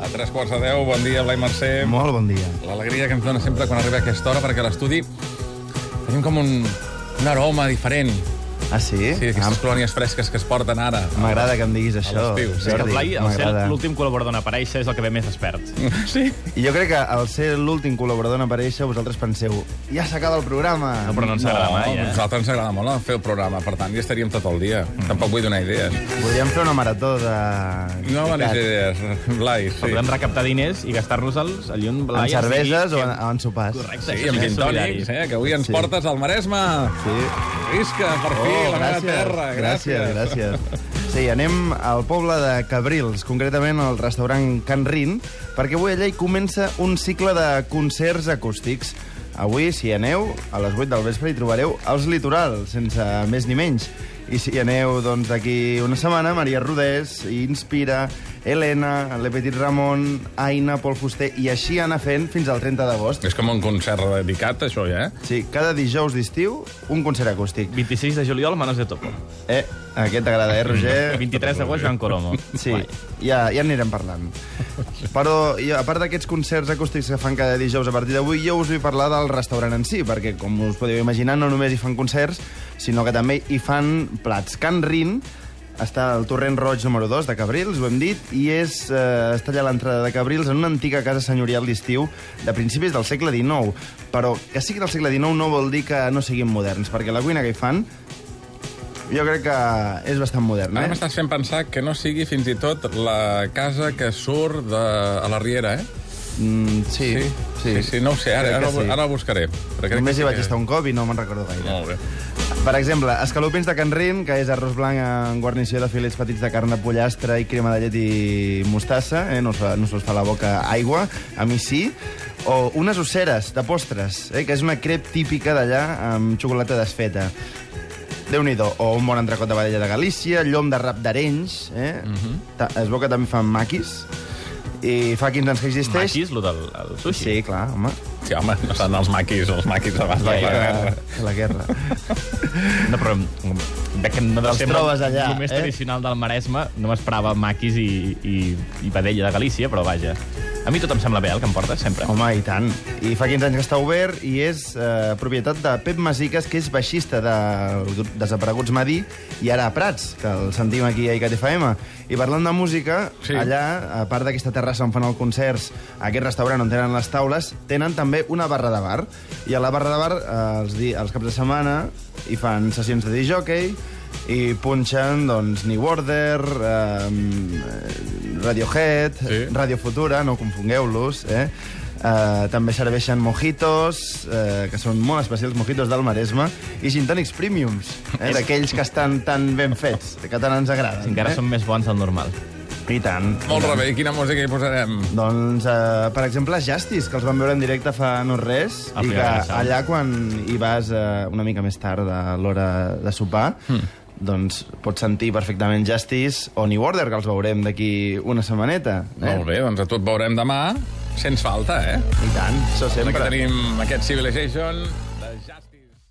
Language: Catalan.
A tres quarts de deu, bon dia, Blai Mercè. Molt bon dia. L'alegria que ens dona sempre quan arriba aquesta hora, perquè a l'estudi tenim com un, un aroma diferent. Ah, sí? Sí, aquestes colònies fresques que es porten ara. Ah, M'agrada que em diguis això. l'estiu. És que Blai, al ser m'agrada. l'últim col·laborador en aparèixer, és el que ve més expert. Sí. I jo crec que al ser l'últim col·laborador en aparèixer, vosaltres penseu, ja s'acaba el programa. No, però no ens agrada mai, a eh? nosaltres ens agrada molt fer el programa, per tant, hi estaríem tot el dia. Mm. Tampoc vull donar idees. Podríem fer una marató de... No me en, idees, Blai, Sí. sí. Podem recaptar diners i gastar-nos-els allà on Blai... en estigui. cerveses o en, o en sopars. Correcte, Sí, això amb és gintònics, solidari. eh, que avui ens Sí. portes al Maresme. Sí. Visca, per fi, la meva terra. gràcies, gràcies. Sí, anem al poble de Cabrils, concretament al restaurant Can Rin, perquè avui allà hi comença un cicle de concerts acústics. Avui, si hi aneu, a les 8 del vespre hi trobareu Els Litoral, sense més ni menys. I si hi aneu, doncs, d'aquí una setmana, Maria Rodés, Inspira, Helena, Le Petit Ramon, Aina, Pol Fuster, i així anar fent fins al 30 d'agost. És com un concert dedicat, això, ja, eh? Sí, cada dijous d'estiu, un concert acústic. 26 de juliol, Manos de Topo. Eh, aquest t'agrada, eh, Roger? 23 d'agost, Joan Colomo. Sí, Guai. ja, ja en anirem parlant. Però, i a part d'aquests concerts acústics que fan cada dijous a partir d'avui, jo us vull parlar del restaurant en si, perquè, com us podeu imaginar, no només hi fan concerts, sinó que també hi fan plats. Can Rin està al Torrent Roig número 2 de Cabrils, ho hem dit, i és, eh, està allà a l'entrada de Cabrils en una antiga casa senyorial d'estiu de principis del segle XIX. Però que sigui del segle XIX no vol dir que no siguin moderns, perquè la cuina que hi fan jo crec que és bastant moderna. Ara Eh? m'estàs fent pensar que no sigui fins i tot la casa que surt de, a la Riera, eh? Mm, sí, sí, sí, sí, no ho sé, ara, Crec ara, que sí. ara ho buscaré. Però crec Només que sí hi vaig que- estar un cop i no me'n recordo gaire. Molt bé. Per exemple, escalopins de Can Rin, que és arròs blanc amb guarnició de filets petits de carn de pollastre i crema de llet i mostassa, eh? no, us fa, no se us fa la boca aigua, a mi sí. O unes osseres de postres, eh? que és una crep típica d'allà amb xocolata desfeta. déu nhi O un bon entrecot de vedella de Galícia, llom de rap d'Arenys, eh? Uh Mhm. -huh. Es veu que també fan maquis. I fa 15 anys que existeix. Maquis, lo del el sushi. Sí, clar, home. Sí, home, no estan els maquis, els maquis abans de Ja, la ja. guerra. La guerra. No, però... De que no Els trobes allà, El més eh? tradicional del Maresme, no m'esperava maquis i, i, i vedella de Galícia, però vaja. A mi tot em sembla bé, el que em portes, sempre. Home, i tant. I fa 15 anys que està obert i és eh, propietat de Pep Masiques, que és baixista de grup Desapareguts Madí i ara a Prats, que el sentim aquí a ICAT FM. I parlant de música, Sí. sí. allà, a part d'aquesta terrassa on fan els concerts, a aquest restaurant on tenen les taules, tenen també una barra de bar. I a la barra de bar, eh, els, di els caps de setmana, hi fan sessions de disjòquei, i punxen, doncs, New Order, eh, Radiohead, Sí. sí. Radio Futura, no confongueu-los, eh? Uh, també serveixen mojitos, uh, que són molt especials, mojitos del Maresme, i gintònics premiums, eh? d'aquells que estan tan ben fets, que tant ens agraden. Encara eh? són més bons del normal. I tant. Molt rebé, i quina música hi posarem? Doncs, eh, per exemple, Justice, que els vam veure en directe fa no res, Ah, i que primera vegada. allà quan hi vas eh, una mica més tard a l'hora de sopar, mm. doncs pots sentir perfectament Justice o New Order, que els veurem d'aquí una setmaneta. Eh? Molt bé, doncs a tu et veurem demà, sens falta, eh? I tant, això Sempre sempre. que tenim aquest Civilization,